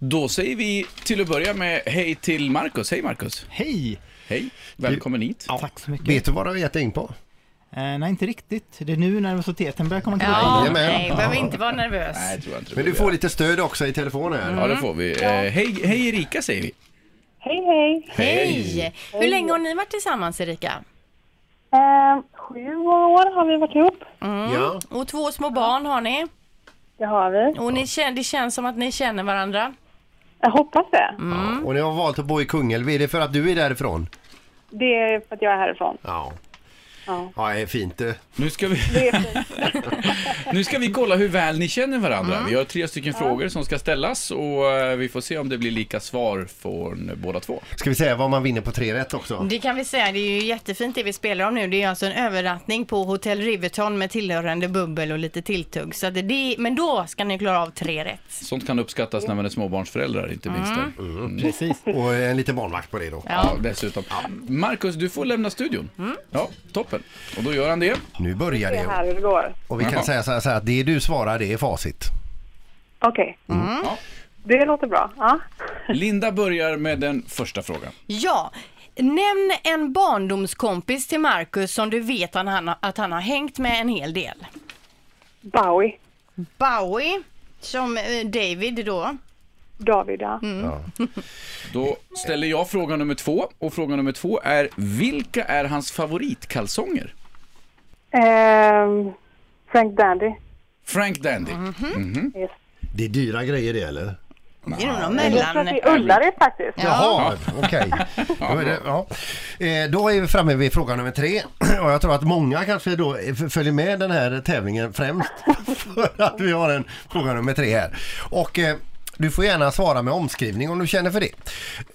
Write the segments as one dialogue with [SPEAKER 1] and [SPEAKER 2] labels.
[SPEAKER 1] Då säger vi till att börja med hej till Marcus. Hej Marcus.
[SPEAKER 2] Hej!
[SPEAKER 1] Hej. Välkommen hit.
[SPEAKER 2] Tack så mycket.
[SPEAKER 3] Vet du vad du har gett dig in på?
[SPEAKER 2] Eh, nej, inte riktigt. Det är nu nervositeten börjar komma
[SPEAKER 4] Ja,
[SPEAKER 2] tillbaka.
[SPEAKER 3] Jajamän.
[SPEAKER 4] nej, behöver inte vara nervös.
[SPEAKER 1] Nej, det tror jag inte. det
[SPEAKER 3] Men du
[SPEAKER 1] blir.
[SPEAKER 3] får lite stöd också i telefon här.
[SPEAKER 1] Ja, det får vi. Eh, hej, hej Erika säger vi.
[SPEAKER 5] Hej, hej.
[SPEAKER 4] Hej! Hur länge har ni varit tillsammans, Erika?
[SPEAKER 5] Eh, sju år har vi varit ihop.
[SPEAKER 3] Ja.
[SPEAKER 4] Och två små barn har ni.
[SPEAKER 5] Det har vi.
[SPEAKER 4] Och ni känner, det känns som att ni känner varandra.
[SPEAKER 5] Jag hoppas det.
[SPEAKER 3] Och ni har valt att bo i Kungälv. Är det för att du är därifrån?
[SPEAKER 5] Det är för att jag är härifrån.
[SPEAKER 3] Ja.
[SPEAKER 5] Ja.
[SPEAKER 3] Ja, det är fint. eh.
[SPEAKER 1] Nu ska vi,
[SPEAKER 5] Det är fint.
[SPEAKER 1] nu ska vi kolla hur väl ni känner varandra. Vi har tre stycken frågor som ska ställas och eh, vi får se om det blir lika svar från båda två.
[SPEAKER 3] Ska vi säga vad man vinner på tre rätt också?
[SPEAKER 4] Det kan vi säga, det är ju jättefint det vi spelar om nu. Det är alltså en övernattning på Hotel Riverton med tillhörande bubbel och lite tilltugg. Så att det, men då ska ni klara av tre rätt.
[SPEAKER 1] Sånt kan uppskattas när man är småbarnsföräldrar, inte minst. där.
[SPEAKER 5] Mm.
[SPEAKER 2] Precis.
[SPEAKER 3] Och en liten barnvakt på det då.
[SPEAKER 1] Ja, dessutom. Marcus, du får lämna studion.
[SPEAKER 5] Mm.
[SPEAKER 1] Ja, toppen. Och då gör han det.
[SPEAKER 3] Nu börjar
[SPEAKER 5] Det är här
[SPEAKER 3] det.
[SPEAKER 5] hur det går.
[SPEAKER 3] Och vi kan
[SPEAKER 1] Ja.
[SPEAKER 3] säga så här, så här att det du svarar det är facit.
[SPEAKER 5] Okej.
[SPEAKER 1] Ja.
[SPEAKER 5] Det låter bra. Ja.
[SPEAKER 1] Linda börjar med den första frågan.
[SPEAKER 4] Ja, nämn en barndomskompis till Marcus som du vet han, han, att han har hängt med en hel del.
[SPEAKER 5] Bowie.
[SPEAKER 4] Bowie, som eh, David då.
[SPEAKER 5] David, ja.
[SPEAKER 1] Då ställer jag fråga nummer två. Och fråga nummer två är, vilka är hans favoritkalsonger?
[SPEAKER 5] Ehm, Frank Dandy.
[SPEAKER 1] Frank Dandy.
[SPEAKER 3] Det är dyra grejer det eller?
[SPEAKER 4] Det är nog någon
[SPEAKER 5] Jag tror
[SPEAKER 4] mellan...
[SPEAKER 5] att det är Ullared faktiskt.
[SPEAKER 3] Jaha, okej. Då är det- Ja. Eh, Då är vi framme vid fråga nummer tre. Och jag tror att många kanske då f- följer med den här tävlingen främst för att vi har en fråga nummer tre här. Och eh, du får gärna svara med omskrivning om du känner för det.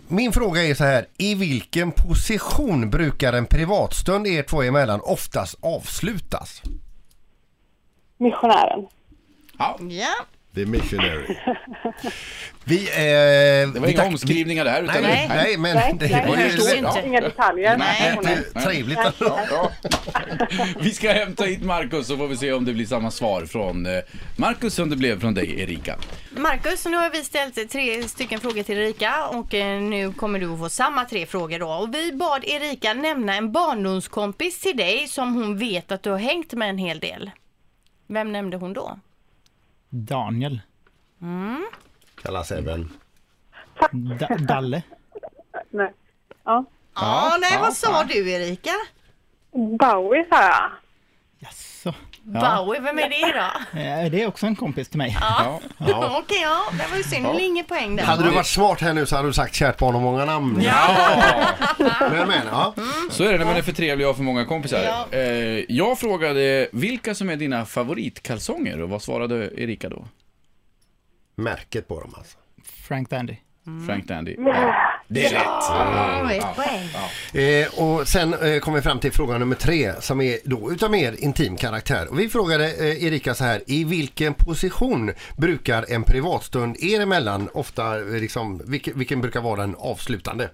[SPEAKER 3] Min fråga är så här. I vilken position brukar en privatstund er två emellan oftast avslutas?
[SPEAKER 5] Missionären.
[SPEAKER 4] Ja.
[SPEAKER 3] The missionary. Vi, eh,
[SPEAKER 1] Det var
[SPEAKER 3] vi
[SPEAKER 1] inga
[SPEAKER 3] tack-
[SPEAKER 1] omskrivningar där. Utan
[SPEAKER 3] Nej, nej, nej, men
[SPEAKER 5] Nej,
[SPEAKER 3] det,
[SPEAKER 5] nej,
[SPEAKER 3] var ju
[SPEAKER 4] jag förstår
[SPEAKER 3] lätt-
[SPEAKER 4] inte.
[SPEAKER 3] ja,
[SPEAKER 5] Inga detaljer.
[SPEAKER 1] Nej.
[SPEAKER 5] Hon är-
[SPEAKER 3] det är Trevligt att
[SPEAKER 1] Ja. Vi ska hämta hit Marcus så får vi se om det blir samma svar från eh, Marcus som det blev från dig Erika.
[SPEAKER 4] Marcus, nu har vi ställt tre stycken frågor till Erika och eh, nu kommer du att få samma tre frågor då. Och vi bad Erika nämna en barndomskompis till dig som hon vet att du har hängt med en hel del. Vem nämnde hon då?
[SPEAKER 2] Daniel.
[SPEAKER 3] kallas även.
[SPEAKER 2] Da- Dalle.
[SPEAKER 5] Nej. Ja.
[SPEAKER 4] Ja, nej, vad sa du Erika?
[SPEAKER 5] Bowie, sa jag.
[SPEAKER 2] Jaså?
[SPEAKER 4] Bowie, vem är det då?
[SPEAKER 2] Eh, det är också en kompis till mig.
[SPEAKER 1] Ja.
[SPEAKER 4] Ja. Okej, ja, det var ju synd. Det blir inget poäng där.
[SPEAKER 3] Hade du varit smart här nu så hade du sagt kärt barn och många namn.
[SPEAKER 1] Ja.
[SPEAKER 3] Men, men, ja.
[SPEAKER 1] Så är det när man är för trevlig och har för många kompisar.
[SPEAKER 4] Ja.
[SPEAKER 1] Eh, Jag frågade vilka som är dina favoritkalsonger och vad svarade Erika då?
[SPEAKER 3] Märket på dem alltså.
[SPEAKER 2] Frank Dandy.
[SPEAKER 1] Frank Dandy. Ja. Det är rätt.
[SPEAKER 4] Ja, ett poäng.
[SPEAKER 3] Eh, och sen eh, kommer vi fram till fråga nummer tre som är då utav mer intim karaktär. Och vi frågade eh, Erika så här, i vilken position brukar en privatstund er emellan ofta, eh, liksom, vilken, vilken brukar vara den avslutande?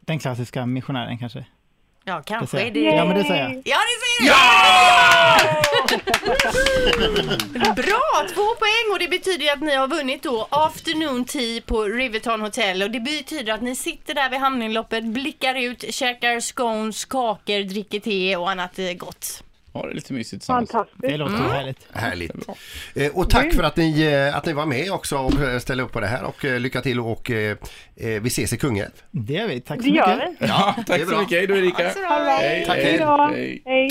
[SPEAKER 2] Den klassiska missionären kanske.
[SPEAKER 4] Ja,
[SPEAKER 2] Det
[SPEAKER 4] kanske
[SPEAKER 2] säger
[SPEAKER 4] är
[SPEAKER 2] jag.
[SPEAKER 4] det.
[SPEAKER 2] Ja, men det säger jag.
[SPEAKER 4] Ja, det säger jag! Bra! Två poäng och det betyder ju att ni har vunnit då afternoon tea på Riverton Hotel och det betyder att ni sitter där vid hamninloppet, blickar ut, käkar scones, kakor, dricker te och annat eh, gott.
[SPEAKER 1] Har det lite mysigt tillsammans.
[SPEAKER 5] Fantastiskt.
[SPEAKER 2] Det låter härligt.
[SPEAKER 3] Härligt. Eh, och tack för att ni, eh, att ni var med också och eh, ställde upp på det här och eh, lycka till och eh, eh, vi ses i Kungälv.
[SPEAKER 2] Det gör vi. Tack så
[SPEAKER 5] Det gör
[SPEAKER 2] mycket.
[SPEAKER 5] vi.
[SPEAKER 1] Ja,
[SPEAKER 3] är
[SPEAKER 1] tack så
[SPEAKER 3] bra.
[SPEAKER 1] mycket. Hej då Erika. Hej,
[SPEAKER 3] Tack,
[SPEAKER 1] hej,
[SPEAKER 3] hej
[SPEAKER 5] då.
[SPEAKER 1] hej.
[SPEAKER 5] Hej.